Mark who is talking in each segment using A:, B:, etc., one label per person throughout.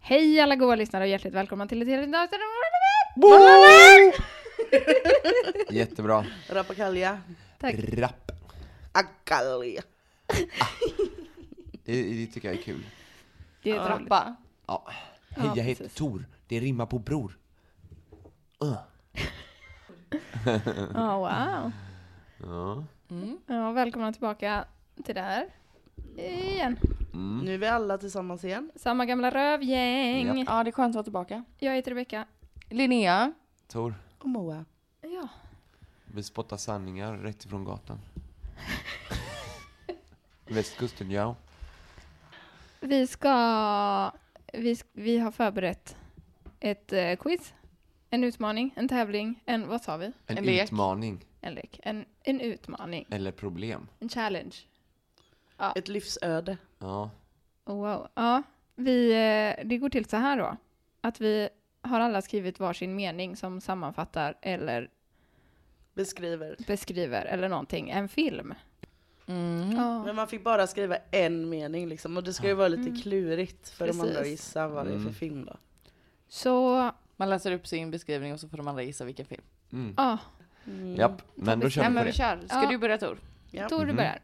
A: Hej alla goa lyssnare och hjärtligt välkomna till ett helt nytt avsnitt
B: Jättebra.
C: Rapakalja.
A: Tack.
B: Rapp.
C: Akalja.
B: Det, det tycker jag är kul.
A: Det är roligt.
C: Rappa.
B: Ja. Hej,
A: Ja,
B: jag heter
A: precis.
B: Tor. Det rimmar på bror. Uh.
A: Ja, wow. Mm.
B: Ja.
A: Ja, välkomna tillbaka till det här. Igen.
C: Mm. Nu är vi alla tillsammans igen.
A: Samma gamla rövgäng.
D: Ja, det är skönt att vara tillbaka.
A: Jag heter Rebecka.
D: Linnea.
B: Tor,
C: Och Moa.
A: Ja.
B: vi spottar sanningar rätt ifrån gatan. Västkusten, ja.
A: Vi ska... Vi, sk- vi har förberett ett eh, quiz. En utmaning, en tävling, en... Vad sa vi?
B: En,
D: En lek.
B: utmaning
A: En lek. En, en utmaning.
B: eller problem.
A: En challenge.
C: Ett livsöde.
B: Ja.
A: Oh, Wow. Ja, vi, eh, det går till så här då. Att vi har alla skrivit varsin mening som sammanfattar eller
C: Beskriver.
A: beskriver eller någonting en film. Ja.
D: Mm.
C: Men man fick bara skriva en mening liksom. Och det ska ju vara
D: Mm.
C: lite klurigt för de andra att
A: Precis.
C: gissa vad det är för
B: Mm.
C: film då.
A: Så,
D: Man läser upp sin beskrivning och så får de andra Mm. gissa vilken film.
B: Mm.
A: ja.
B: Japp, men då kör
D: Nej
B: vi på
D: men vi
B: det.
D: kör. Ska
A: Ja.
D: du börja Tor?
C: Ja.
A: Tor, du
B: Mhm.
A: börjar.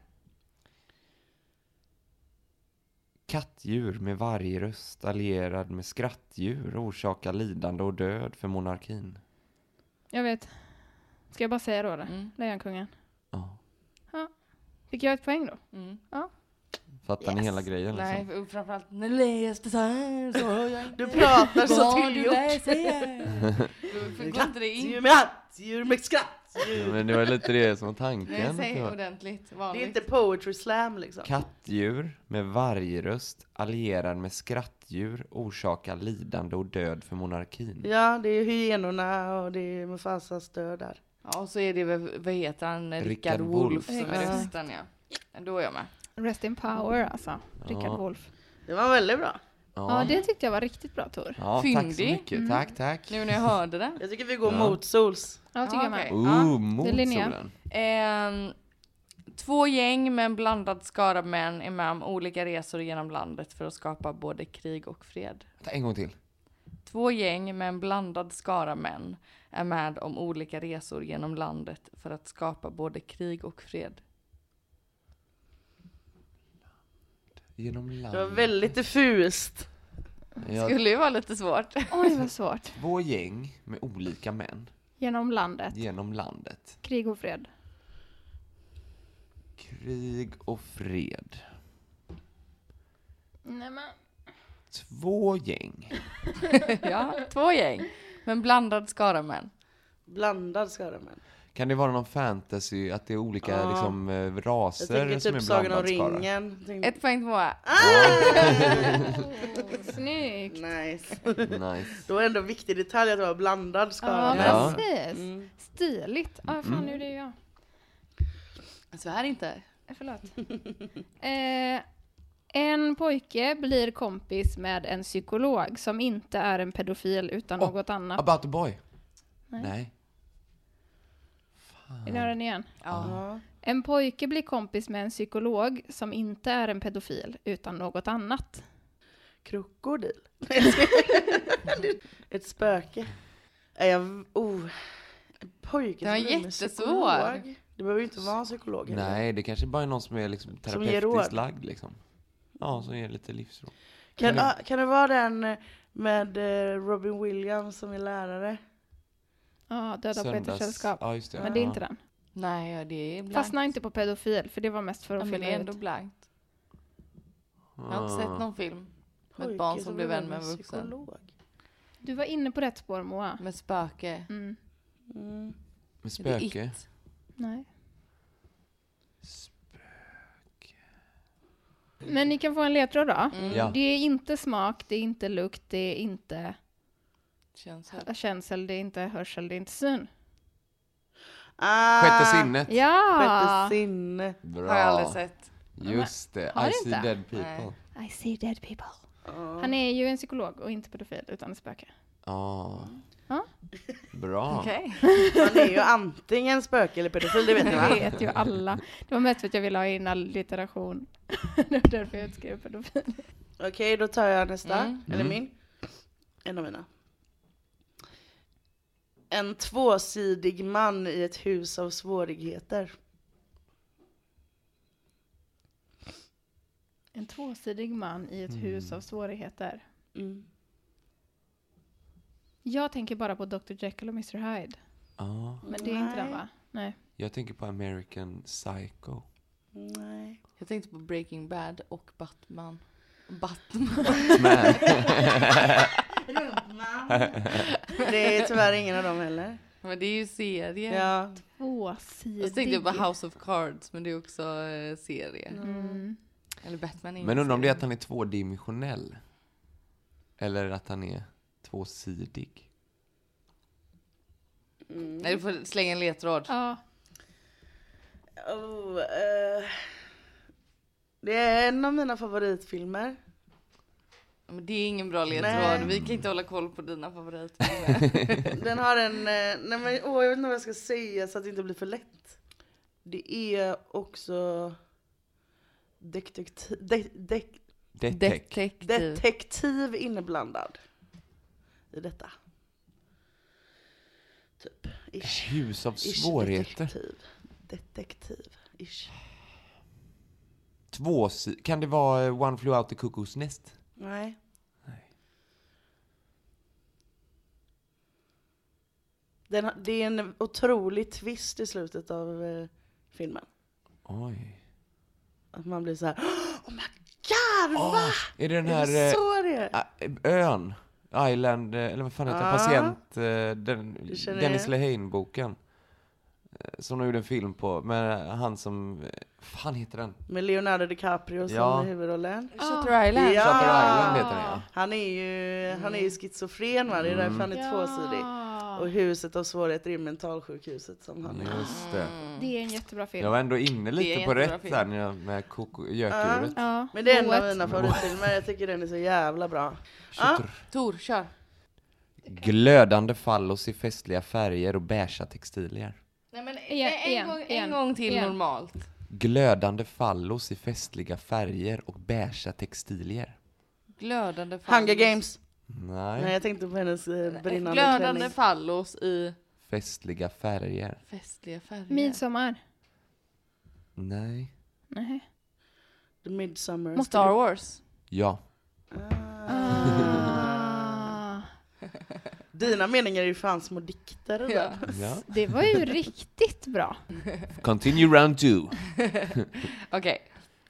B: Kattdjur med vargröst allierad med skrattdjur orsakar lidande och död för monarkin.
A: Jag vet. Ska jag bara säga då det? Lejonkungen.
B: Ja.
A: Fick jag ett poäng då?
D: Mm.
B: Fattar ni hela grejen liksom?
D: Nej, för- framförallt när du läste så här så hör jag
C: Du pratar så
D: vad du
C: tillgjort.
D: läser. För går inte det in?
C: Djur med hatt, djur med skratt.
B: Ja, Men det var lite det som var tanken.
D: Nej, säg
B: tror jag.
D: ordentligt.
C: Det är
D: Vanligt.
C: inte poetry slam liksom.
B: Kattdjur med vargröst allierad med skrattdjur orsakar lidande och död för monarkin.
C: Ja, det är hyenorna och det är Mufasas död där.
D: Ja, och så är det, väl- vad heter han,
B: Rickard
D: Rickard Wolff
B: Wolff.
D: som är
A: Exakt.
D: rösten ja. Då är jag med.
A: Rest in power alltså. Rickard
B: Ja.
A: Wolff.
C: Det var väldigt bra.
A: Ja. det tyckte jag var riktigt bra Tor.
B: ja tack så
D: Fyndig.
B: mycket.
C: Mm.
B: Tack, tack.
D: Nu när jag hörde det.
C: Jag tycker vi går
B: Ja.
C: mot sols.
A: Ja, tycker
D: Ja,
A: jag
D: okej.
A: med.
B: Ooh, Oh, mot
A: det är Linnea.
B: solen.
D: Ehm, två gäng med en blandad skara män är med om olika resor genom landet för att skapa både krig och fred.
B: Vänta, En gång till.
D: Två gäng med en blandad skara män är med om olika resor genom landet för att skapa både krig och fred.
B: Genom land.
C: Det var väldigt diffust.
B: Ja,
D: Skulle ju vara lite svårt.
A: Oj, vad svårt.
B: två gäng med olika män
A: Genom landet.
B: genom landet.
A: Krig och fred.
B: Krig och fred.
A: Nej, men.
B: Två gäng.
D: ja, två gäng med en blandad skara män.
C: Blandad skara män.
B: Kan det vara någon fantasy, att det är olika
C: Ja.
B: liksom, eh,
C: Jag
B: raser
C: tänker
B: som
C: typ
B: är
C: Sagan om
B: blandad skara?
C: ringen. Tänkte-
D: Ett poäng till Moa.
A: Oh, Snyggt.
C: Nice.
B: Nice.
C: Då är det ändå en viktig detalj att det var blandad
A: Ja,
C: skara.
B: Ja. Mm.
A: precis.
C: Mm.
A: Stiligt. Ja, ah, fan nu är det jag.
D: Svär inte.
A: Eh, Förlåt. eh, en pojke blir kompis med en psykolog som inte är en pedofil utan
B: Åh,
A: något annat.
B: About a boy?
A: Nej.
B: Nej.
A: Vill ni höra den igen?
B: Ah.
D: Ja.
C: Ja.
A: En pojke blir kompis med en psykolog som inte är en pedofil utan något annat.
C: Krokodil. Ett spöke. Är jag... Oh. En pojke
D: Den var
C: som blir med
D: jättesvår.
C: psykolog. Det behöver ju inte vara en psykolog. eller?
B: Nej, det kanske bara är någon som är liksom
C: ger
B: terapeutiskt
C: råd.
B: lagd liksom. Ja, som ger lite livsråd.
C: Kan,
B: Kan
C: ah, kan det vara den med eh, Robin Williams som är lärare?
A: Ja, döda på
B: Söndags-
A: äktenskapssällskap.
B: Ja, just det.
A: Men det är
B: Ja.
A: inte den.
D: Nej, ja, det är blankt.
A: Fastna inte på pedofil, för det var mest för
D: ja,
A: att
D: men
A: fylla
D: det är
A: ut.
D: ändå blankt. Jag har inte
B: Ah.
D: sett någon film med
C: Pojke
D: ett barn som blir
C: blir
D: vän med en vuxen.
C: psykolog.
A: Du var inne på rätt spår, Moa.
D: Med spöke.
A: Mm.
C: Mm.
B: Med
D: Är det
B: spöke.
D: It?
A: Nej.
B: Spöke.
A: Men ni kan få en ledtråd då.
B: Ja.
A: Mm, Det är inte smak, det är inte lukt, det är inte
D: Känns här.
A: Känsel, det är inte hörsel, det är inte syn.
C: Ah,
B: Sjätte sinnet.
A: Ja!
C: Sjätte sinne.
B: Bra.
D: Har jag aldrig sett.
B: Just det.
A: Har
B: I
A: du
B: see
A: inte?
B: dead people.
D: Nej.
A: I see dead people.
C: Ja.
A: Han är ju en psykolog och inte pedofil utan ett spöke.
B: Ja.
A: Ja.
B: Bra.
D: Okej.
C: Han är ju antingen spöke eller pedofil, det vet ni
A: Det
C: va?
A: vet ju alla. Det var mest för att jag ville ha in alliteration. Det var därför jag skrev pedofil.
C: Okej, då tar jag nästa.
D: Mm.
C: Eller
B: Mm.
C: min. En av mina. En tvåsidig man i ett hus av svårigheter.
A: En tvåsidig man i ett hus av svårigheter.
C: Mm.
A: Jag tänker bara på Dr Jekyll och Mr Hyde.
B: Ja.
A: Men det är inte den va? Nej.
B: Jag tänker på American Psycho.
C: Nej.
D: Jag tänkte på Breaking Bad och Batman. Batman.
B: Men,
C: Det är tyvärr ingen av dem heller.
D: Men det är ju serie.
C: Ja.
D: Och
A: Tvåsidig.
D: så tänkte Alltså, jag på House of Cards, men det är också eh, serie.
A: Mm.
D: Eller Batman är ju
B: men
D: en
B: undrar om det är
D: serie.
B: att han är tvådimensionell. Eller att han är tvåsidig.
D: Nej, du får slänga en ledtråd.
A: Ja.
C: Oh, eh. det är en av mina favoritfilmer.
D: Men det är ingen bra ledtråd.
C: Nej.
D: Vi kan inte hålla koll på dina favoriter.
C: Den har en... eh, Nej men, åh, jag vet inte vad jag ska säga så att det inte blir för lätt. Det är också detektiv, de, de,
B: Detect.
D: typ.
C: detektiv inblandad i detta. Typ. Ish.
B: Hus av
C: Ish,
B: svårigheter.
C: Detektiv. Detektiv. Ish.
B: Tvåsi- kan det vara eh, One Flew Out the Cuckoo's Nest?
C: Nej.
B: Nej.
C: Den, har- det är en otrolig twist i slutet av eh, filmen.
B: Oj.
C: Att man blir så här. Oh my god!
B: Ah,
C: va?
B: är det den
C: är
B: här
C: det
B: eh,
C: så det är?
B: ah, ön? Island, eh, eller vad fan heter den?
C: Ah.
B: Patient, eh, den,
C: Du känner
B: Dennis
C: igen.
B: Lehane-boken. eh, Som de gjorde en film på, med han som, eh, fan heter den?
C: Med Leonardo DiCaprio som
B: Ja.
C: är huvudrollen.
D: Shutter Island.
C: Ja.
B: Shutter Island heter den ja.
C: Han är ju, han är ju schizofren va? Det är därför han är
A: Mm.
C: tvåsidig. Och huset av svårigheter är mentalsjukhuset som han är.
B: Just det.
D: Mm.
A: Det är en jättebra film.
B: Jag var ändå inne lite på
D: jättebra
B: rätt
D: film.
B: där när jag- med koko- gökuret.
A: Ja.
C: Men det är en av
A: Boet.
C: mina favoritfilmer, jag tycker den är så jävla bra. Ja.
B: Tjutter.
D: Tor, kör.
B: Glödande fallos i festliga färger och beiga textilier.
D: Nej, men
A: Igen,
D: en,
A: igen,
D: gång, en
A: igen,
D: gång till
A: igen.
D: normalt.
B: Glödande fallos i festliga färger och beiga textilier.
D: Glödande fallos.
C: Hunger Games!
B: Nej.
C: Nej jag tänkte på hennes eh, brinnande
D: Glödande
C: klänning.
D: fallos i
B: Festliga färger.
D: festliga färger.
A: Midsommar.
B: Nej.
A: Nej.
C: The Midsummer.
D: Måste Star Wars.
B: Ja.
C: Ah.
A: Ah.
C: Dina meningar är ju fan små dikter. eller?
B: ja.
A: Det var ju riktigt bra.
B: Continue round two.
D: Okej.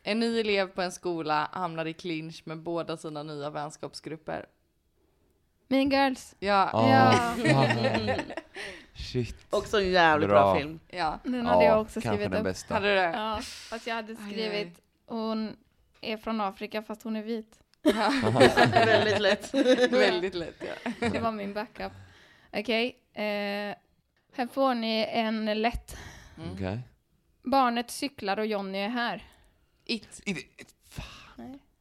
D: En ny elev på en skola hamnar i clinch med båda sina nya vänskapsgrupper.
A: Mean Girls.
D: Ja,
B: Ah,
A: Ja.
B: fan. Shit.
C: Också en jävligt bra,
B: Bra.
C: film.
D: ja.
A: Den hade jag också
B: kanske
A: skrivit
B: den
A: upp.
B: bästa.
D: Hade du det?
A: Ja, fast jag hade skrivit hon är från Afrika fast hon är vit.
C: Mm. Väldigt lätt.
D: Väldigt lätt. Ja.
A: Det var min backup. Okej, eh, här får ni en lätt.
B: Okej.
A: Barnet cyklar och Jonny är här.
D: It.
A: Nej.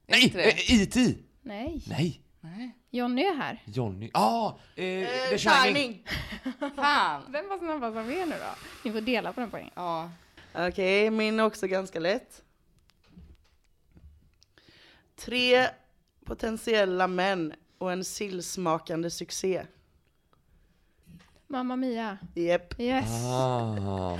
B: Nej!
D: Inte det.
B: eh, E.T.
A: Nej,
B: Nej!
D: Nej.
A: Jonny är här.
B: Johnny. Ah! Eh, The
C: Eh,
B: Shining.
C: Shining!
D: Fan.
A: Vem var snabbast av er nu då? Ni får dela på den poängen.
D: Ja.
C: Okej, min är också ganska lätt. Tre potentiella män och en sillsmakande succé.
A: Mamma Mia.
C: Yep.
A: Yes.
B: Ah.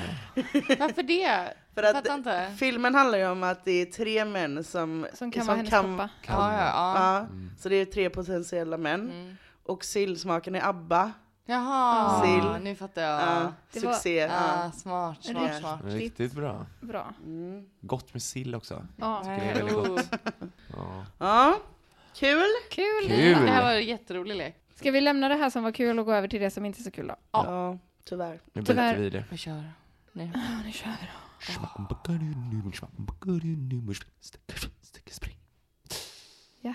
D: Varför det?
C: För
D: Jag
C: att
D: fattar inte.
C: filmen handlar ju om att det är tre män som...
A: Som kan vara hennes pappa.
B: Kan
D: Ja, ja, ja.
C: Ja, så det är tre potentiella män. Och sillsmaken är ABBA.
D: Jaha,
C: Sill.
D: nu fattar jag.
C: Ja,
A: Det var-
C: succé. Ja. Mm.
D: Ah, smart, smart,
A: Riktigt.
D: smart.
B: Riktigt bra.
A: Bra.
B: Gott med sill också.
A: Ja,
D: Nej,
B: är väldigt
D: oh.
B: Ja.
C: Ja. Kul!
A: kul.
D: Det
B: Kul!
D: här var en jätterolig lek.
A: Ska vi lämna det här som var kul och gå över till det som inte är så kul då?
C: Ja, tyvärr.
B: Nu byter
A: Tyvärr.
B: vi det.
D: Vi kör. Nu.
A: Ja, Ah, nu kör vi då. Ja.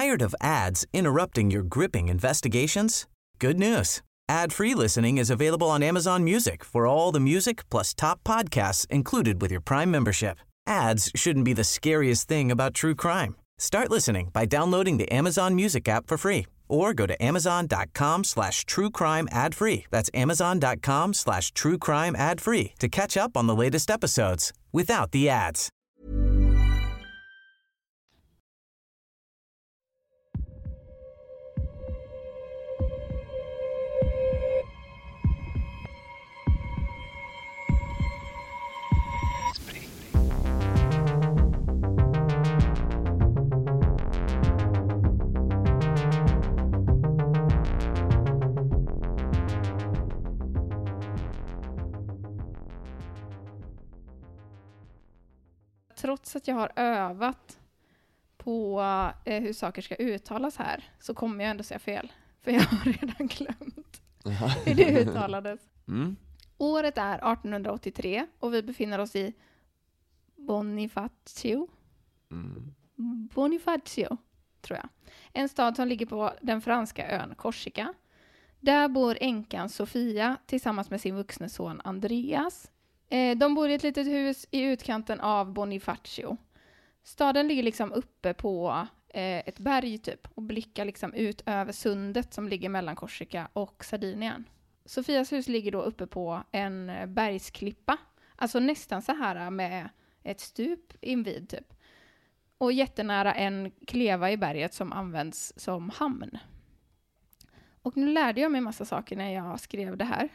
E: Tired of ads interrupting your gripping investigations? Good news. Ad-free listening is available on Amazon Music for all the music plus top podcasts included with your Prime membership. Ads shouldn't be the scariest thing about true crime. Start listening by downloading the Amazon Music app for free or go to amazon.com slash true crime ad free. That's amazon.com slash true crime ad free to catch up on the latest episodes without the ads.
A: Trots att jag har övat på eh, hur saker ska uttalas här så kommer jag ändå säga fel. För jag har redan glömt hur det uttalades.
B: Mm.
A: Året är 1883 och vi befinner oss i Bonifacio.
B: Mm.
A: Bonifacio, tror jag. En stad som ligger på den franska ön Korsika. Där bor änkan Sofia tillsammans med sin vuxne son Andreas. Eh, de bor i ett litet hus i utkanten av Bonifacio. Staden ligger liksom uppe på eh, ett berg typ och blickar liksom ut över sundet som ligger mellan Korsika och Sardinien. Sofias hus ligger då uppe på en eh, bergsklippa, alltså nästan så här med ett stup invid typ och jättenära en kleva i berget som används som hamn. Och nu lärde jag mig massa saker när jag skrev det här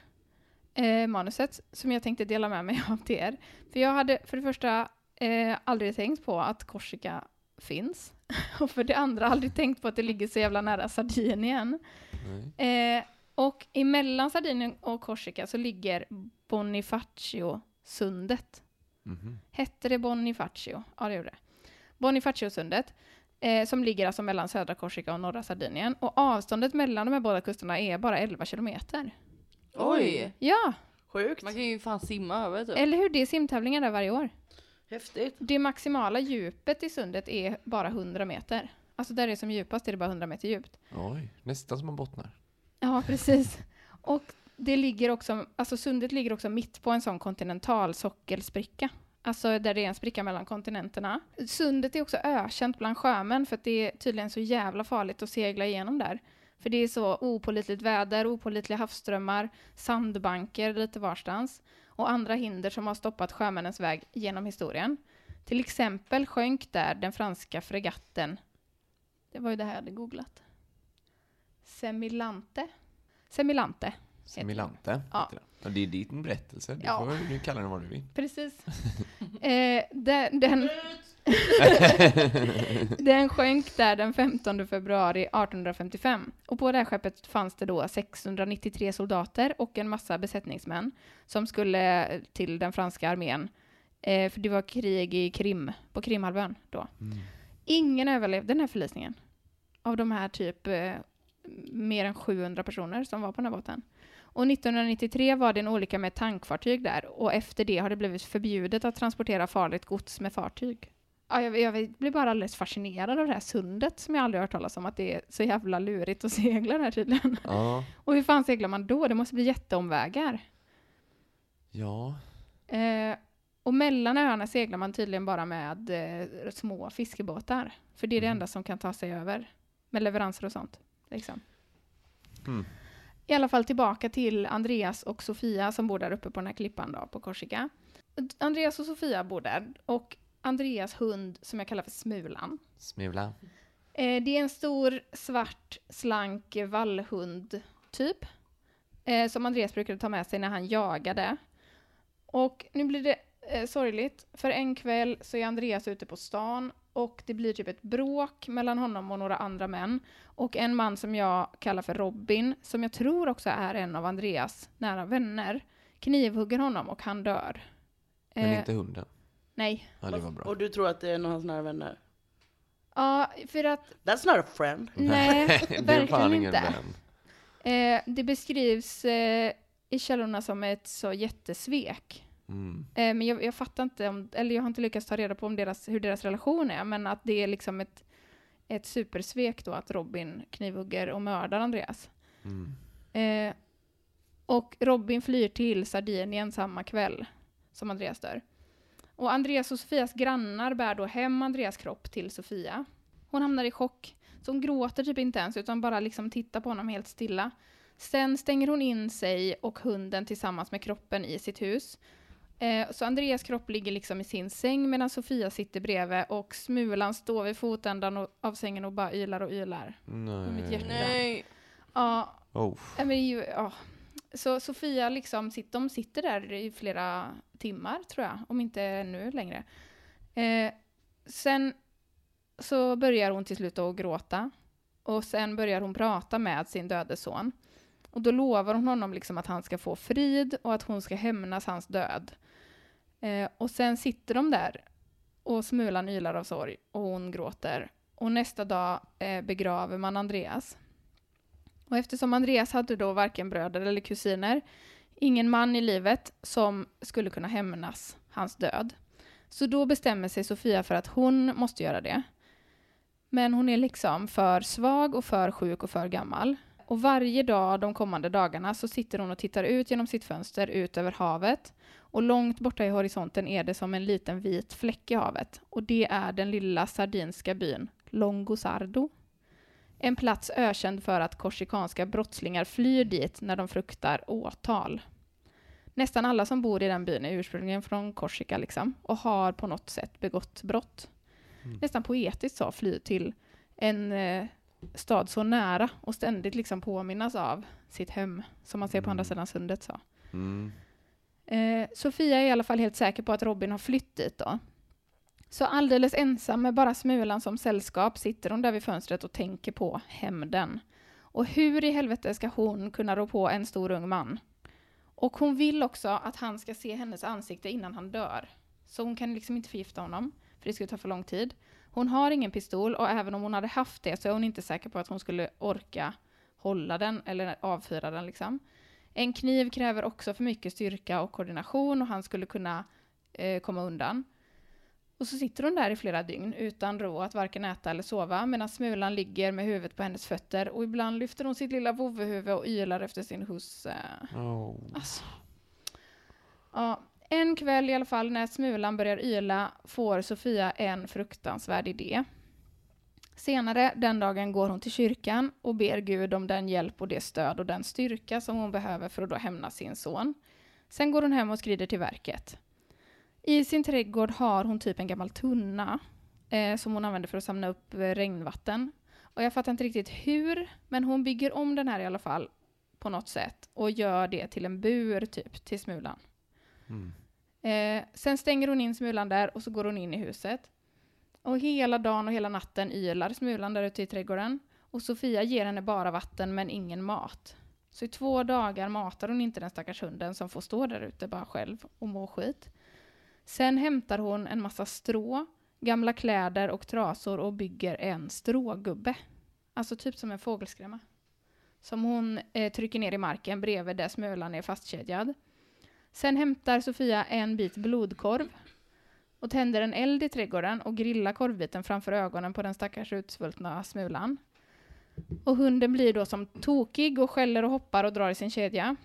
A: eh, manuset som jag tänkte dela med mig av till er. För jag hade för det första eh, aldrig tänkt på att Korsika finns och för det andra aldrig tänkt på att det ligger så jävla nära Sardinien.
B: Nej.
A: Eh, och emellan Sardinien och Korsika så ligger Bonifacio-sundet.
B: Mhm.
A: Hette det Bonifacio? Ja, det gjorde det. Bonifaciosundet, eh, som ligger alltså mellan södra Korsika och norra Sardinien. Och avståndet mellan de här båda kusterna är bara 11 kilometer.
D: Oj!
A: Ja,
C: Sjukt.
D: Man kan ju fan simma över typ.
A: eller hur? Det är simtävlingar där varje år.
C: Häftigt.
A: Det maximala djupet i sundet är bara 100 meter. Alltså där det är som djupast är det bara 100 meter djupt.
B: Oj, nästan som man bottnar.
A: Ja, precis. Och det ligger också, alltså sundet ligger också mitt på en sån kontinental sockelspricka. Alltså där det är en spricka mellan kontinenterna. Sundet är också ökänt bland sjömän för att det är tydligen så jävla farligt att segla igenom där. För det är så opålitligt väder, opålitliga havsströmmar, sandbanker lite varstans och andra hinder som har stoppat sjömännens väg genom historien. Till exempel sjönk där den franska fregatten, det var ju det här jag hade googlat, Semilante. Semilante,
B: Semilante.
A: Ja.
B: heter den. Och det är din berättelse. Du
A: Ja.
B: får väl nu kalla den vad du vill.
A: precis. eh, den, den, den sjönk där den 15 februari 1855. Och på det här skeppet fanns det då 693 soldater och en massa besättningsmän som skulle till den franska armén. Eh, för det var krig i Krim, på Krimhalvön då. Ingen överlevde den här förlisningen. Av de här typ eh, mer än 700 personer som var på den här båten. Och 1993 var det en olycka med ett tankfartyg där och efter det har det blivit förbjudet att transportera farligt gods med fartyg. Ja, jag, jag blir bara alldeles fascinerad av det här sundet som jag aldrig har hört talas om, att det är så jävla lurigt att segla där tydligen.
B: Ja.
A: Och hur fan seglar man då? Det måste bli jätteomvägar.
B: Ja.
A: Eh, och mellan öarna seglar man tydligen bara med eh, små fiskebåtar. För det är det
B: Mhm.
A: enda som kan ta sig över. Med leveranser och sånt. Liksom.
B: Mm.
A: I alla fall tillbaka till Andreas och Sofia som bor där uppe på den här klippan då, på Korsika. Andreas och Sofia bor där. Och Andreas hund, som jag kallar för Smulan.
B: Smula.
A: Eh, det är en stor, svart, slank vallhund, typ. Eh, som Andreas brukade ta med sig när han jagade. Och nu blir det eh, sorgligt, för en kväll så är Andreas ute på stan och det blir typ ett bråk mellan honom och några andra män. Och en man som jag kallar för Robin, som jag tror också är en av Andreas nära vänner, knivhugger honom och han dör.
B: Men
A: Eh,
B: inte hunden.
A: Nej.
B: Ja, det var bra.
C: Och du tror att det är någon av hans nära vänner?
A: Ja, för att
C: That's not a friend.
A: nej,
B: det är
A: verkligen
B: fan ingen
A: inte.
B: vän.
A: Eh, det beskrivs eh, i källorna som ett så jättesvek.
B: Mm.
A: Eh, men jag, jag fattar inte, om, eller jag har inte lyckats ta reda på om deras, hur deras relation är, men att det är liksom ett, ett supersvek då att Robin knivhugger och mördar Andreas.
B: Mm.
A: Eh, och Robin flyr till Sardinien samma kväll som Andreas dör. Och Andreas och Sofias grannar bär då hem Andreas kropp till Sofia. Hon hamnar i chock, så hon gråter typ inte ens utan bara liksom tittar på honom helt stilla. Sen stänger hon in sig och hunden tillsammans med kroppen i sitt hus. Eh, så Andreas kropp ligger liksom i sin säng medan Sofia sitter bredvid och Smulan står vid fotändan och- av sängen och bara ylar och ylar. mitt hjärta.
B: mm. Nej.
D: Nej.
A: Ja,
B: Oh.
A: Ja, men det är ju, ja. Så Sofia liksom, sit- de sitter där i flera timmar tror jag, om inte ännu längre. Eh, sen så börjar hon till slut att gråta. Och sen börjar hon prata med sin döde son. Och då lovar hon honom liksom att han ska få frid och att hon ska hämnas hans död. Eh, och sen sitter de där och Smulan ylar av sorg och hon gråter. Och nästa dag eh, begraver man Andreas. Och eftersom Andreas hade då varken bröder eller kusiner, ingen man i livet som skulle kunna hämnas hans död. Så då bestämmer sig Sofia för att hon måste göra det. Men hon är liksom för svag och för sjuk och för gammal. Och varje dag de kommande dagarna så sitter hon och tittar ut genom sitt fönster ut över havet. Och långt borta i horisonten är det som en liten vit fläck i havet. Och det är den lilla sardinska byn Longosardo. En plats ökänd för att korsikanska brottslingar flyr dit när de fruktar åtal. Nästan alla som bor i den byn är ursprungligen från Korsika liksom, och har på något sätt begått brott. Nästan poetiskt så, fly till en eh, stad så nära och ständigt liksom påminnas av sitt hem, som man ser på andra sidan sundet. Så.
B: Mm.
A: Eh, Sofia är i alla fall helt säker på att Robin har flytt dit då. Så alldeles ensam med bara Smulan som sällskap sitter hon där vid fönstret och tänker på hämnden. Och hur i helvete ska hon kunna rå på en stor ung man? Och hon vill också att han ska se hennes ansikte innan han dör. Så hon kan liksom inte förgifta honom, för det skulle ta för lång tid. Hon har ingen pistol och även om hon hade haft det så är hon inte säker på att hon skulle orka hålla den eller avfyra den liksom. En kniv kräver också för mycket styrka och koordination och han skulle kunna eh, komma undan. Och så sitter hon där i flera dygn utan ro att varken äta eller sova medan Smulan ligger med huvudet på hennes fötter och ibland lyfter hon sitt lilla vovvehuvud och ylar efter sin husse.
B: Oh.
A: Alltså. Ja, en kväll i alla fall när Smulan börjar yla får Sofia en fruktansvärd idé. Senare den dagen går hon till kyrkan och ber Gud om den hjälp och det stöd och den styrka som hon behöver för att då hämna sin son. Sen går hon hem och skrider till verket. I sin trädgård har hon typ en gammal tunna eh, som hon använder för att samla upp eh, regnvatten. Och jag fattar inte riktigt hur, men hon bygger om den här i alla fall på något sätt och gör det till en bur typ till Smulan.
B: Mm.
A: Eh, sen stänger hon in Smulan där och så går hon in i huset. Och hela dagen och hela natten ylar Smulan där ute i trädgården. Och Sofia ger henne bara vatten men ingen mat. Så i två dagar matar hon inte den stackars hunden som får stå där ute bara själv och må skit. Sen hämtar hon en massa strå, gamla kläder och trasor och bygger en strågubbe. Alltså typ som en fågelskrämma. Som hon eh, trycker ner i marken bredvid där Smulan är fastkedjad. Sen hämtar Sofia en bit blodkorv och tänder en eld i trädgården och grillar korvbiten framför ögonen på den stackars utsvultna Smulan. Och hunden blir då som tokig och skäller och hoppar och drar i sin kedja.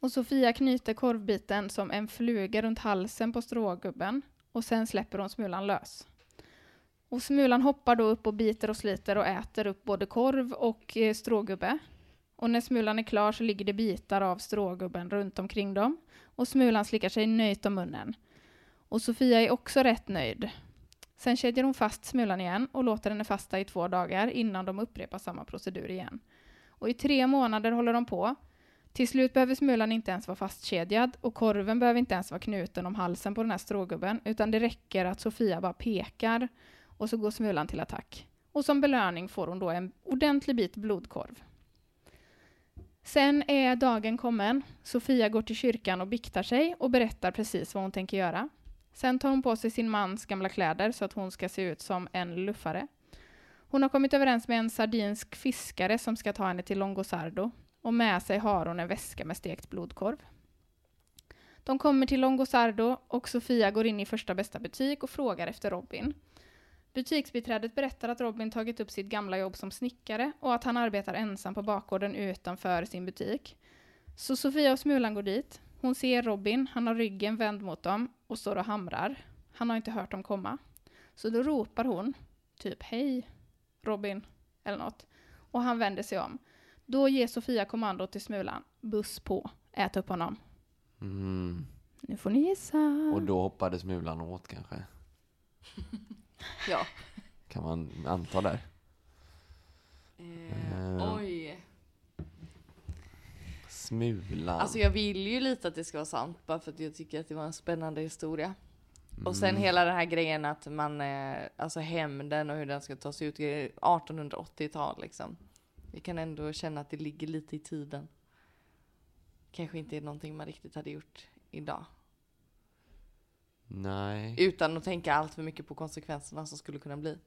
A: Och Sofia knyter korvbiten som en fluga runt halsen på strågubben och sen släpper hon Smulan lös. Och Smulan hoppar då upp och biter och sliter och äter upp både korv och eh, strågubbe. Och när Smulan är klar så ligger det bitar av strågubben runt omkring dem och Smulan slickar sig nöjt om munnen. Och Sofia är också rätt nöjd. Sen kedjar hon fast Smulan igen och låter henne fasta i två dagar innan de upprepar samma procedur igen. Och i tre månader håller de på. Till slut behöver Smulan inte ens vara fastkedjad och korven behöver inte ens vara knuten om halsen på den här strågubben utan det räcker att Sofia bara pekar och så går Smulan till attack. Och som belöning får hon då en ordentlig bit blodkorv. Sen är dagen kommen. Sofia går till kyrkan och biktar sig och berättar precis vad hon tänker göra. Sen tar hon på sig sin mans gamla kläder så att hon ska se ut som en luffare. Hon har kommit överens med en sardinsk fiskare som ska ta henne till Longosardo och med sig har hon en väska med stekt blodkorv. De kommer till Longosardo och Sofia går in i första bästa butik och frågar efter Robin. Butiksbiträdet berättar att Robin tagit upp sitt gamla jobb som snickare och att han arbetar ensam på bakgården utanför sin butik. Så Sofia och Smulan går dit. Hon ser Robin, han har ryggen vänd mot dem och står och hamrar. Han har inte hört dem komma. Så då ropar hon, typ hej Robin, eller något. Och han vänder sig om. Då ger Sofia kommando till Smulan, buss på, ät upp honom.
B: Mm.
A: Nu får ni gissa.
B: Och då hoppade Smulan åt kanske?
D: Ja.
B: Kan man anta där? Eh.
D: Oj.
B: Smulan.
D: Alltså jag vill ju lite att det ska vara sant bara för att jag tycker att det var en spännande historia. Och
B: Mm.
D: sen hela den här grejen att man, eh, alltså hämnden och hur den ska tas ut, det är 1880-tal liksom. Vi kan ändå känna att det ligger lite i tiden. Kanske inte är någonting man riktigt hade gjort idag.
B: Nej.
D: Utan att tänka allt för mycket på konsekvenserna som skulle kunna bli.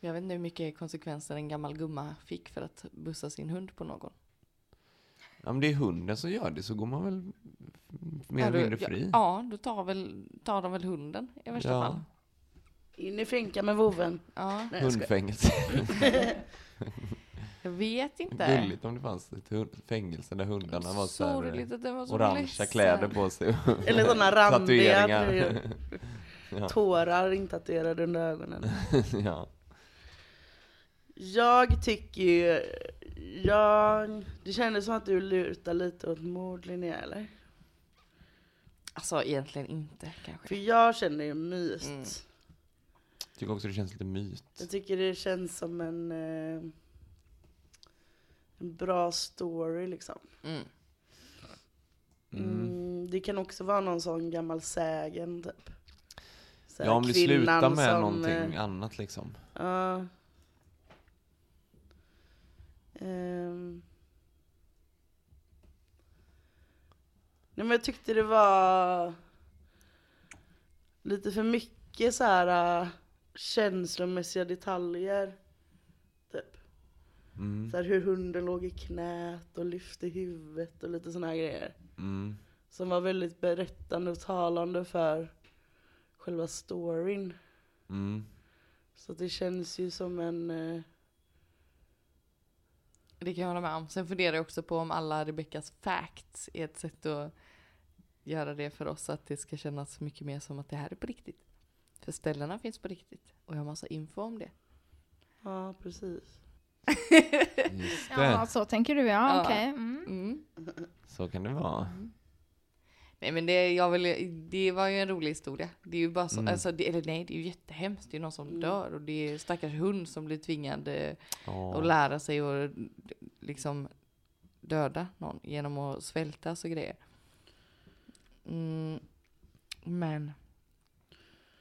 D: Jag vet inte hur mycket konsekvenser en gammal gumma fick för att bussa sin hund på någon.
B: Ja, men det är hunden som gör det så går man väl mer
D: Ja,
B: eller
D: då-
B: mindre fri.
D: Ja, ja då tar, väl, tar de väl hunden i värsta
B: Ja.
D: fall.
C: In i finkan med vovven.
D: Ja,
C: Nej, jag skojar.
B: Hundfängelse.
D: jag vet inte.
B: Gulligt om det fanns ett hund- fängelse där hundarna var så här,
D: Sorgligt att den var så
B: orangea
D: ledsen.
B: kläder på sig.
C: Eller sådana randiga
B: Tatueringar.
C: grejer. tårar intatuerade under ögonen.
B: ja.
C: Jag tycker ju... Jag, det kändes som att du lutar lite åt mord Linnea eller?
D: Alltså egentligen inte kanske.
C: För jag känner ju myst.
D: Mm.
B: Tycker också det känns lite
C: Jag
B: myt.
C: tycker det känns som en, eh, en bra story liksom.
D: Mm.
C: Mm.
B: Mm.
C: det kan också vara någon sån gammal sägen typ. Så här,
B: Ja, om det
C: kvinnan
B: slutar med
C: som,
B: någonting
C: eh,
B: annat liksom.
C: Ja. Ehm. Nej men jag tyckte det var lite för mycket så här äh, känslomässiga detaljer. Typ.
B: Mm.
C: Så här hur hunden låg i knät och lyfte huvudet och lite såna här grejer.
B: Mm.
C: Som var väldigt berättande och talande för själva storyn.
B: Mm.
C: Så det känns ju som en eh,
D: Det kan jag hålla med om. Sen funderar jag också på om alla Rebeckas facts är ett sätt att göra det för oss. Att det ska kännas mycket mer som att det här är på riktigt. För ställena finns på riktigt. Och jag har massa info om det.
C: Ja, precis.
B: Just
A: Ja,
B: det.
A: så tänker du ja,
D: Ja.
A: okej. Mm.
D: Mm.
B: Så kan det vara.
D: Nej men det, jag vill, det var ju en rolig historia. Det är ju bara så,
B: Mm.
D: alltså, det, eller nej det är ju jättehemskt. Det är någon som
C: Mm.
D: dör och det är stackars hund som blir tvingad eh,
B: Ja.
D: att lära sig att liksom döda någon genom att svälta och grejer. Mm, men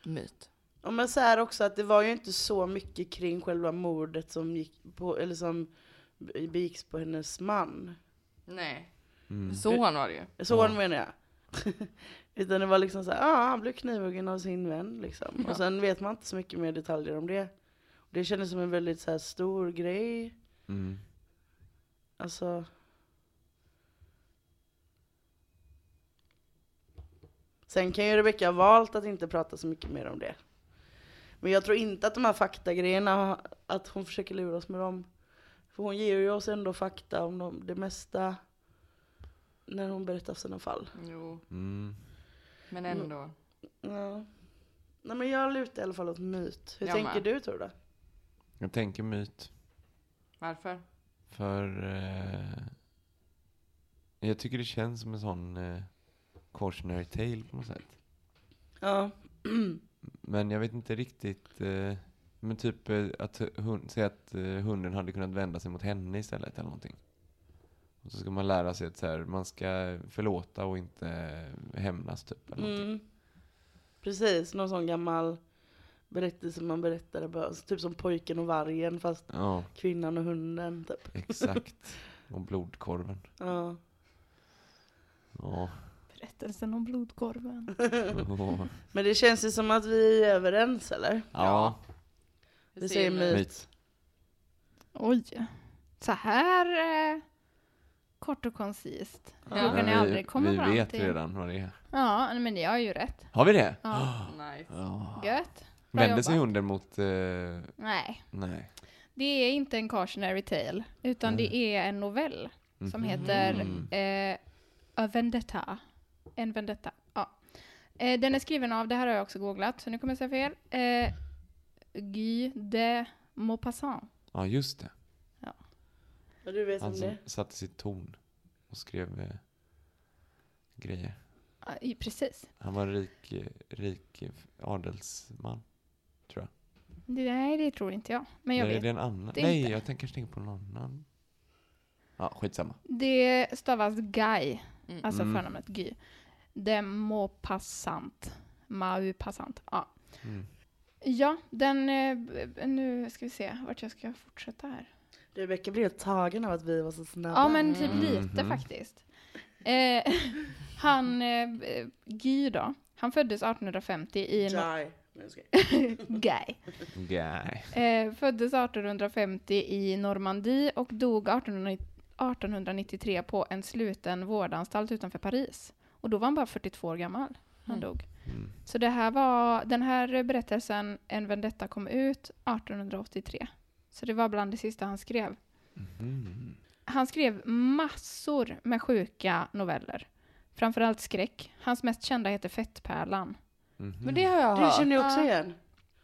D: myt.
C: Ja, men så här också att det var ju inte så mycket kring själva mordet som gick på, eller som begicks på hennes man.
D: Nej.
B: Mm.
D: Så han var det ju.
C: Så
B: Ja.
C: menar jag. Utan det var liksom så här, ja han blev knivhuggen av sin vän liksom.
D: Ja.
C: Och sen vet man inte så mycket mer detaljer om det. Det kändes som en väldigt så här stor grej.
B: Mm.
C: Alltså. Sen kan ju Rebecca ha valt att inte prata så mycket mer om det. Men jag tror inte att de här faktagrejerna, att hon försöker lura oss med dem. För hon ger ju oss ändå fakta om dem, det mesta när hon berättar sina fall.
D: Jo,
B: Mm.
D: men ändå.
C: Ja. Nej men jag lutar i alla fall åt myt. Hur
D: Jag
C: tänker
D: med.
C: du tror du?
B: Jag tänker myt.
D: Varför?
B: För eh, jag tycker det känns som en sån eh, cautionary tale på något sätt.
C: Ja.
B: Men jag vet inte riktigt. Eh, men typ eh, att hund, säga att eh, hunden hade kunnat vända sig mot henne istället eller någonting. Och så ska man lära sig att så här, man ska förlåta och inte hämnas typ. Eller någonting.
C: Mm. Precis, någon sån gammal berättelse man berättade. bara, alltså Typ som pojken och vargen fast
B: Ja,
C: kvinnan och hunden. Typ.
B: exakt. och blodkorven.
C: Ja.
B: Ja.
A: Berättelsen om blodkorven.
B: ja.
C: Men det känns ju som att vi är överens eller?
B: ja.
C: Vi säger myt.
B: Myt.
A: Oj. Så här eh, kort och koncist.
D: Ja.
A: Brukar ni
B: vi-
A: aldrig komma
B: Vi
A: fram
B: vet
A: till.
B: redan vad det är.
A: Ja, men ni har ju rätt.
B: Har vi det?
A: Ja.
D: Nice.
B: Ja.
A: Gött.
B: Vänder sig
A: jobbat.
B: hunden mot... Eh,
A: Nej,
B: nej.
A: det är inte en cautionary tale, utan
B: Nej.
A: det är en novell som
B: Mhm.
A: heter
B: Mm.
A: eh, A Vendetta. En Vendetta, ja. Eh, den är skriven av, det här har jag också googlat, så nu kommer jag säga fel, eh, Guy de Maupassant.
B: Ja, just det.
C: Ja, du vet
B: Han
C: om
B: som
C: det.
B: satte sitt torn och skrev eh, grejer.
A: Ja, i- precis.
B: Han var en rik, eh, rik eh, adelsman.
A: Det- Nej, det tror inte jag. Men jag
B: Nej,
A: vet.
B: det är en annan.
A: det
B: Nej,
A: inte.
B: jag tänker tänka på någon annan. Ja, skitsamma.
A: Det stavas Guy,
D: Mm.
A: alltså
B: Mm.
A: förnamnet Guy. De Maupassant. Maupassant, ja.
B: Mm.
A: Ja, den... eh, b- Nu ska vi se vart jag ska fortsätta här.
C: Rebecka blev helt tagen av att vi var så snabba.
A: Ja, men typ
D: Mm.
A: lite
B: Mhm.
A: faktiskt. Eh, han, eh, b- Guy då, han föddes 1850 i... No-
C: Die. Nej, jag skojar.
A: Guy.
B: Nej.
A: Eh, föddes 1850 i Normandie och dog 1890 1893 på en sluten vårdanstalt utanför Paris. Och då var han bara 42 år gammal. Han
D: Mm.
A: dog.
B: Mm.
A: Så det här var, den här berättelsen, En vendetta, kom ut 1883. Så det var bland det sista han skrev.
B: Mhm.
A: Han skrev massor med sjuka noveller. Framförallt skräck. Hans mest kända heter Fettpärlan.
B: Mhm.
D: Men det har jag
C: Det känner jag
D: hört.
C: också
A: Ja.
C: igen.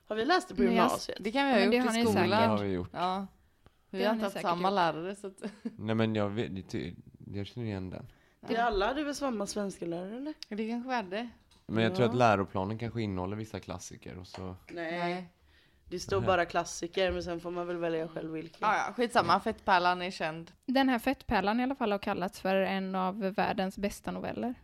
C: Har vi läst det på
A: Nej, jag-
C: gymnasiet?
D: Det kan vi ha
A: Men det
D: gjort
A: har
D: i
A: ni
B: Jo,
D: skolan.
B: det har vi gjort.
D: Ja. Vi
A: Det
D: har
A: har
D: inte
A: ni
D: haft
A: säkert
D: samma
A: gjort.
D: lärare så att...
B: Nej, men jag, vet, det ty- jag känner igen den.
C: Vi alla hade väl samma svenska lärare eller?
D: Det kanske var det.
B: Men jag tror
C: Ja.
B: att läroplanen kanske innehåller vissa klassiker och så...
D: Nej.
C: Det står bara klassiker men sen får man väl välja själv vilken.
D: Ja, ja, skitsamma. Fettpärlan är känd.
A: Den här Fettpärlan i alla fall har kallats för en av världens bästa noveller.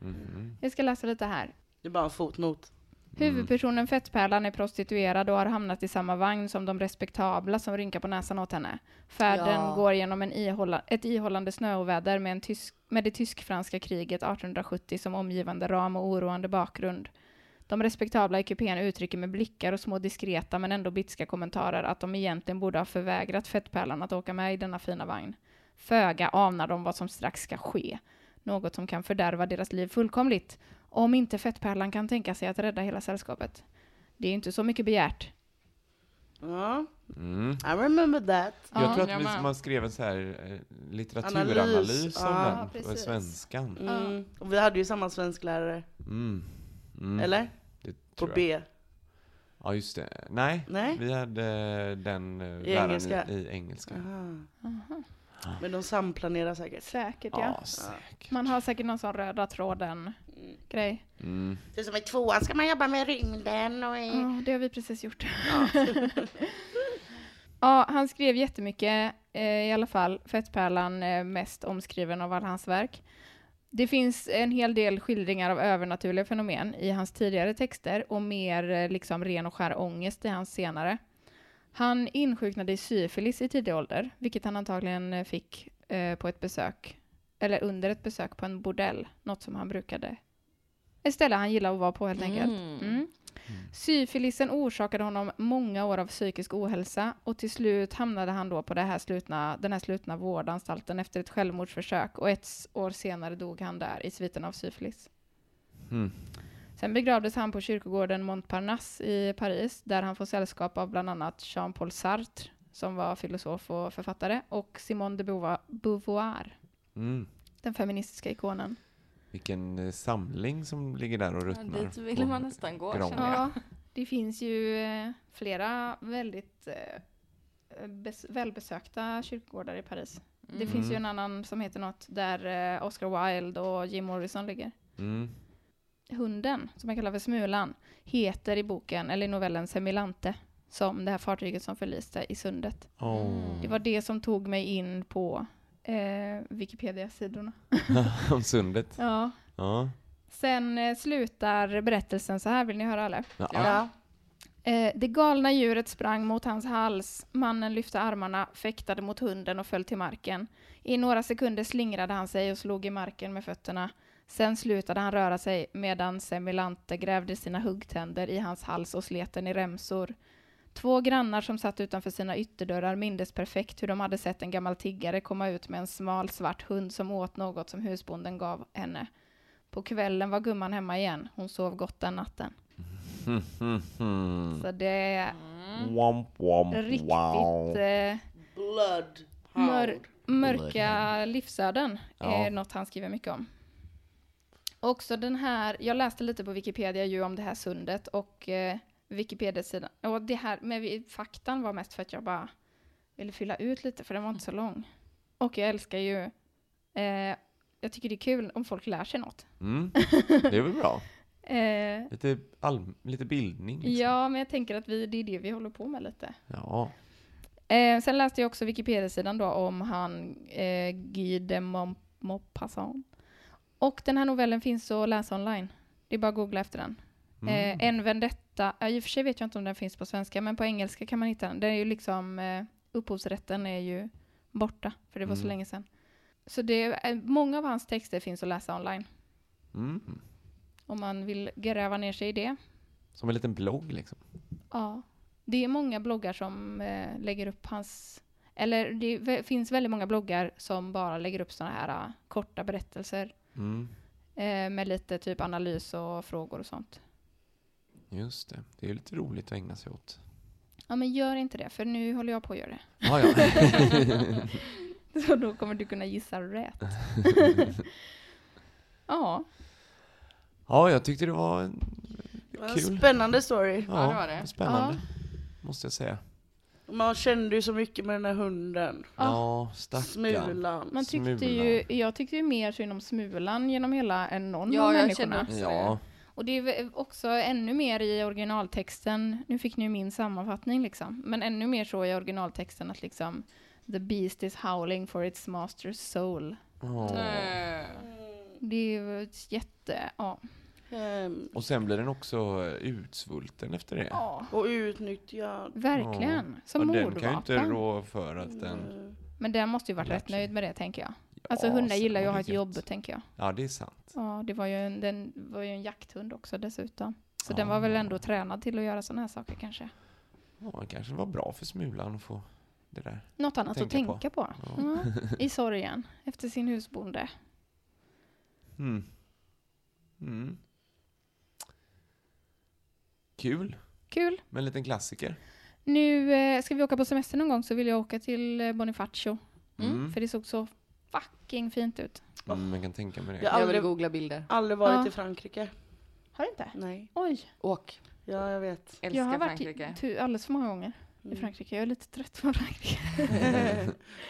B: Mhm.
A: Jag ska läsa lite här.
C: Det är bara en fotnot.
A: Huvudpersonen Fettpärlan är prostituerad och har hamnat i samma vagn som de respektabla som rynkar på näsan åt henne. Färden
D: Ja.
A: går genom en ihålla, ett ihållande snöoväder med, en tysk, med det tysk-franska kriget 1870 som omgivande ram och oroande bakgrund. De respektabla i kupén uttrycker med blickar och små diskreta men ändå bitska kommentarer att de egentligen borde ha förvägrat Fettpärlan att åka med i denna fina vagn. Föga anar de vad som strax ska ske. Något som kan fördärva deras liv fullkomligt. Om inte Fettpärlan kan tänka sig att rädda hela sällskapet. Det är ju inte så mycket begärt.
C: Ja,
B: Mm.
C: I remember that.
A: Ja,
B: Jag tror att
D: jag
B: vi,
D: med.
B: man skrev en så här eh, litteraturanalys
C: Analys,
B: om
C: ja.
A: Ja,
B: den, på
A: precis.
B: svenskan.
C: Mm. Och vi hade ju samma svensklärare.
B: Mm. Mm.
C: Eller?
B: Det
C: På
B: tror jag.
C: B.
B: Ja, just det. Nej,
C: Nej?
B: vi hade eh, den eh,
C: I
B: läraren
C: engelska. Mm.
B: I, i engelska.
C: Aha.
A: Aha.
C: Ah. Men de samplanerar säkert.
A: Säkert ja.
B: Ja, säkert.
A: Man har säkert någon sån röda tråden-grej.
B: Mm.
C: Så som i tvåan ska man jobba med rymden och i...
A: Ja, det har vi precis gjort. ja, han skrev jättemycket, eh, i alla fall Fettpärlan eh, mest omskriven av alla hans verk. Det finns en hel del skildringar av övernaturliga fenomen i hans tidigare texter och mer eh, liksom ren och skär ångest i hans senare. Han insjuknade i syfilis i tidig ålder, vilket han antagligen eh, fick eh, på ett besök, eller under ett besök på en bordell, något som han brukade. Ett ställe han gillade att vara på helt enkelt. Mm. Syfilisen orsakade honom många år av psykisk ohälsa och till slut hamnade han då på det här slutna, den här slutna vårdanstalten efter ett självmordsförsök och ett s- år senare dog han där i sviten av syfilis.
B: Mm.
A: Sen begravdes han på kyrkogården Montparnasse i Paris där han får sällskap av bland annat Jean-Paul Sartre som var filosof och författare och Simone de Beauvoir- Beauvoir,
B: Mm.
A: den feministiska ikonen.
B: Vilken eh, samling som ligger där och
D: Ja,
B: ruttnar.
D: dit ville
B: på-
D: man nästan gå.
B: gran.
D: känner jag.
A: Ja, det finns ju eh, flera väldigt eh, bes- välbesökta kyrkogårdar i Paris. Det
D: Mm.
A: finns ju en annan som heter något där eh, Oscar Wilde och Jim Morrison ligger.
B: Mm.
A: Hunden, som jag kallar för Smulan, heter i boken, eller i novellen Semilante, som det här fartyget som förliste i sundet.
D: Mm.
B: Åh,
A: Det var det som tog mig in på eh, Wikipedia-sidorna.
B: om sundet.
A: Ja.
B: Ja.
A: Sen eh, slutar berättelsen så här, vill ni höra eller?
B: Ja.
D: Ja.
A: Eh, det galna djuret sprang mot hans hals. Mannen lyfte armarna, fäktade mot hunden och föll till marken. I några sekunder slingrade han sig och slog i marken med fötterna. Sen slutade han röra sig medan Semilante grävde sina huggtänder i hans hals och slet den i remsor. Två grannar som satt utanför sina ytterdörrar mindes perfekt hur de hade sett en gammal tiggare komma ut med en smal svart hund som åt något som husbonden gav henne. På kvällen var gumman hemma igen. Hon sov gott den natten.
B: Hmm, hmm, hmm.
A: Så det är
D: Mm.
B: Womp, womp,
A: riktigt
B: wow.
A: eh,
C: Blood
A: mör,
C: hound.
A: mörka livsöden.
B: Ja.
A: Är något han skriver mycket om. Också den här, jag läste lite på Wikipedia ju om det här sundet och eh, Wikipedia-sidan. Och det här med vi- faktan var mest för att jag bara ville fylla ut lite för den var inte så lång. Och jag älskar ju, eh, jag tycker det är kul om folk lär sig något.
B: Mm. Det är väl bra?
A: Eh,
B: Lite, all, lite bildning liksom.
A: Ja, men jag tänker att vi, det är det vi håller på med lite.
B: Ja.
A: Eh, sen läste jag också Wikipedia-sidan då om han eh, Guy de Maupassant. Och den här novellen finns att läsa online. Det är bara att googla efter den.
B: Mm.
A: Eh, en vendetta, ja, i och för sig vet jag inte om den finns på svenska, men på engelska kan man hitta den. Den är ju liksom, eh, upphovsrätten är ju borta, för det var så
B: Mm.
A: länge sedan. Så det, är- eh, många av hans texter finns att läsa online,
B: Mm.
A: om man vill gräva ner sig i det.
B: Som en liten blogg liksom.
A: Ja. Det är många bloggar som eh, lägger upp hans... Eller det vä- finns väldigt många bloggar som bara lägger upp sådana här eh, korta berättelser
B: Mm.
A: eh, med lite typ analys och frågor och sånt.
B: Just det. Det är ju lite roligt att ägna sig åt.
A: Ja, men gör inte det, för nu håller jag på att göra det.
B: Ah, ja.
A: Så då kommer du kunna gissa rätt. ja,
B: ja, jag tyckte det var en,
C: Vad en
B: kul.
C: Spännande story.
D: Ja, det var det.
B: Spännande. Måste jag säga.
C: Man kände ju så mycket med den här hunden.
B: Ja, stackarn.
C: Smulan.
A: man tyckte
B: Smulan.
A: ju, jag tyckte ju mer synd om Smulan genom hela än någon
D: Ja,
A: av
D: jag
A: människorna.
D: kände också
B: Ja.
A: Och det är väl också ännu mer i originaltexten, nu fick ni ju min sammanfattning liksom, men ännu mer så i originaltexten att liksom The beast is howling for its master's soul.
B: Ja.
D: Mm. Nej.
A: Det är ju ett jätte, ja.
C: Ehm,
B: Och sen blir den också eh, utsvulten efter det.
A: ja.
C: Och utnyttjad.
A: Verkligen. Som
B: Och den kan ju inte
A: mordvapen.
B: rå för att
C: Mm.
B: den...
A: Men den måste ju varit
B: Lärt
A: rätt
B: sig.
A: nöjd med det tänker jag. Alltså
B: Ja,
A: hundar
B: sen
A: gillar ju
B: var
A: att ha
B: det
A: ett
B: gött.
A: jobb tänker jag.
B: Ja, det är sant.
A: Ja, det var ju en, den var ju en jakthund också dessutom. Så den
B: Ja.
A: var väl ändå tränad till att göra sådana här saker kanske.
B: Ja, det kanske var bra för Smulan att få det där.
A: Något annat att
B: Tänka på.
A: tänka på.
B: Ja.
A: Ja, I sorgen efter sin husbonde.
B: Mm. Mm. Kul,
A: Kul.
B: men en liten klassiker.
A: Nu eh, ska vi åka på semester någon gång så vill jag åka till eh, Bonifacio.
B: Mm.
A: För det såg så fucking fint ut.
B: Mm, man kan tänka mig det.
C: Ja.
D: Jag vill
C: Aldrig-
D: googla bilder.
C: Aldrig varit
A: Ja.
C: i Frankrike.
A: Har du inte?
C: Nej.
A: Oj,
D: Åk.
C: Ja, jag vet.
D: Älskar
A: jag har varit
D: Frankrike.
A: i- tu- alldeles för många gånger
C: Mm.
A: i Frankrike. Jag är lite trött på Frankrike.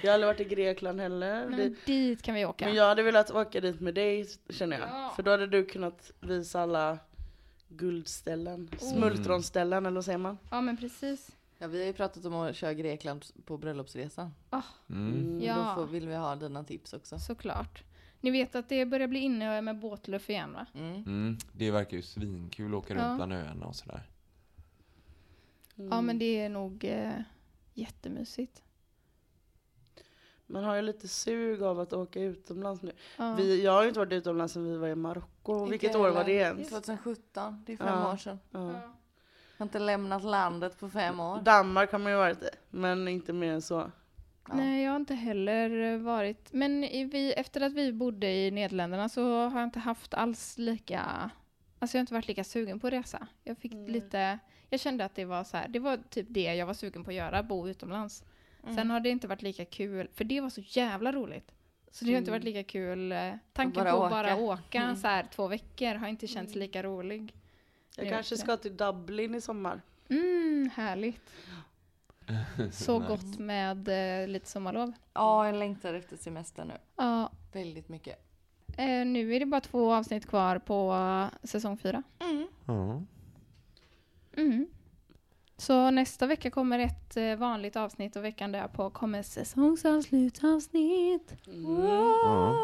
C: jag har aldrig varit i Grekland heller.
A: Nej,
C: Det-
A: men dit kan vi åka.
C: Men jag hade velat åka dit med dig känner jag.
A: Ja.
C: För då hade du kunnat visa alla guldställen. Smultronställen eller vad säger man?
A: Ja men precis.
D: Ja, vi har ju pratat om att köra Grekland på bröllopsresan.
B: Mm.
D: Då
A: Ja.
D: får, vill vi ha dina tips också.
A: Såklart. Ni vet att det börjar bli inne med båtluff igen va?
D: Mm.
B: Mm. Det verkar ju svinkul att åka
A: Ja.
B: runt bland öarna och sådär.
A: Ja
C: Mm.
A: men det är nog eh, jättemysigt.
C: Man har ju lite sug av att åka utomlands nu.
A: Ja.
C: Vi, jag har ju inte varit utomlands sedan vi var i Marocko.
D: Inte
C: Vilket år var det
D: heller.
C: ens?
D: 2017, det är fem
C: Ja.
D: år sedan.
C: Ja.
A: Ja.
D: Jag har inte lämnat landet på fem år.
C: Danmark har man ju varit i, men inte mer än så.
D: Ja.
A: Nej, jag har inte heller eh, varit... Men i- vi, efter att vi bodde i Nederländerna så har jag inte haft alls lika... Alltså jag har inte varit lika sugen på att resa. Jag fick lite... Jag kände att det var så här, det var typ det jag var sugen på att göra, bo utomlands. Sen har det inte varit lika kul, för det var så jävla roligt. Så det har inte varit lika kul. eh, Tanken
D: bara
A: på att bara
D: åka.
A: åka så här två veckor har inte känts lika rolig.
C: Jag
A: Det
C: kanske
A: vet
C: ska till Dublin i sommar.
A: Mm, härligt. Så gott med eh, lite sommarlov.
D: ja, jag längtar efter semester nu.
A: Ja,
D: Väldigt mycket.
A: Eh, nu är det bara två avsnitt kvar på eh, säsong fyra.
B: Ja.
A: Mm. Så nästa vecka kommer ett eh, vanligt avsnitt och veckan därpå kommer säsongsavslutavsnitt.
B: Ja.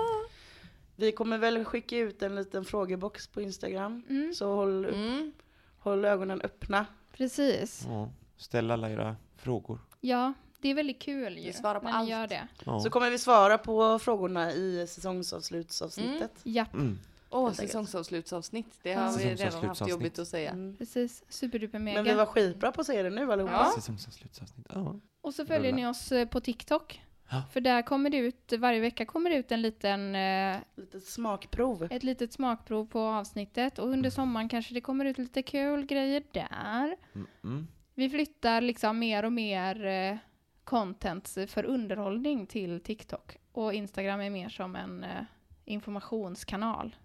C: Vi kommer väl skicka ut en liten frågebox på Instagram. Så håll,
D: Mm.
C: håll ögonen öppna.
A: Precis.
B: Ja. Ställ alla era frågor.
A: Ja, det är väldigt kul ju.
D: Vi svarar på
A: när ni
D: allt.
A: Gör det.
B: Ja.
C: Så kommer vi svara på frågorna i säsongsavslutsavsnittet.
A: Ja,
B: Mm.
D: Åh,
C: enkelt.
D: säsongsavslutsavsnitt. Det har vi redan haft
B: Säsongsavslutsavsnitt.
D: jobbigt att säga.
A: precis. Superduper Mm. mega.
C: Men vi var skitbra på att säga det nu allihopa.
D: Ja.
B: Säsongsavslutsavsnitt. Ja.
A: Och så följer
B: Rulla.
A: ni oss eh, på TikTok.
B: Ja.
A: För där kommer det ut, varje vecka kommer det ut en liten, eh,
C: Litet smakprov.
A: ett litet smakprov på avsnittet och under sommaren kanske det kommer ut lite kul grejer där.
B: Mm, mm.
A: Vi flyttar liksom mer och mer eh, content för underhållning till TikTok och Instagram är mer som en eh, informationskanal.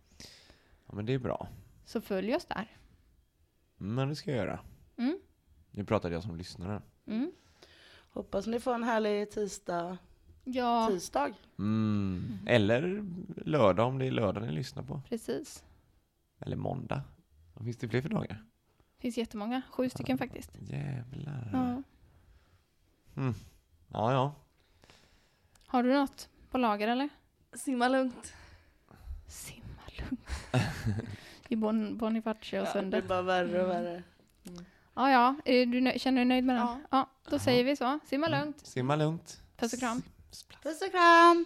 B: Ja, men det är bra.
A: Så följ oss där.
B: Men det ska jag göra.
A: Mm.
B: Nu pratade jag som lyssnare.
A: Mm.
C: Hoppas ni får en härlig tisdag.
A: Ja,
C: tisdag.
B: Mm. Eller lördag om det är lördag ni lyssnar på.
A: precis.
B: Eller måndag. Vad finns det fler för dagar?
A: Det finns jättemånga, sju stycken faktiskt.
B: Jävlar.
A: Ja.
B: Ja, ja.
A: Har du något på lager eller?
D: Simma lugnt.
A: Simma lugnt. I bon, Bonifacio och
C: Det är
A: sönder.
C: bara värre och värre.
A: Ja, ja. Är Du nö- känner dig nöjd med den? Ja.
D: Ja.
A: då säger vi så. Simma lugnt.
B: Simma lugnt.
A: Puss och kram.
B: Simsplass.
C: Puss och kram!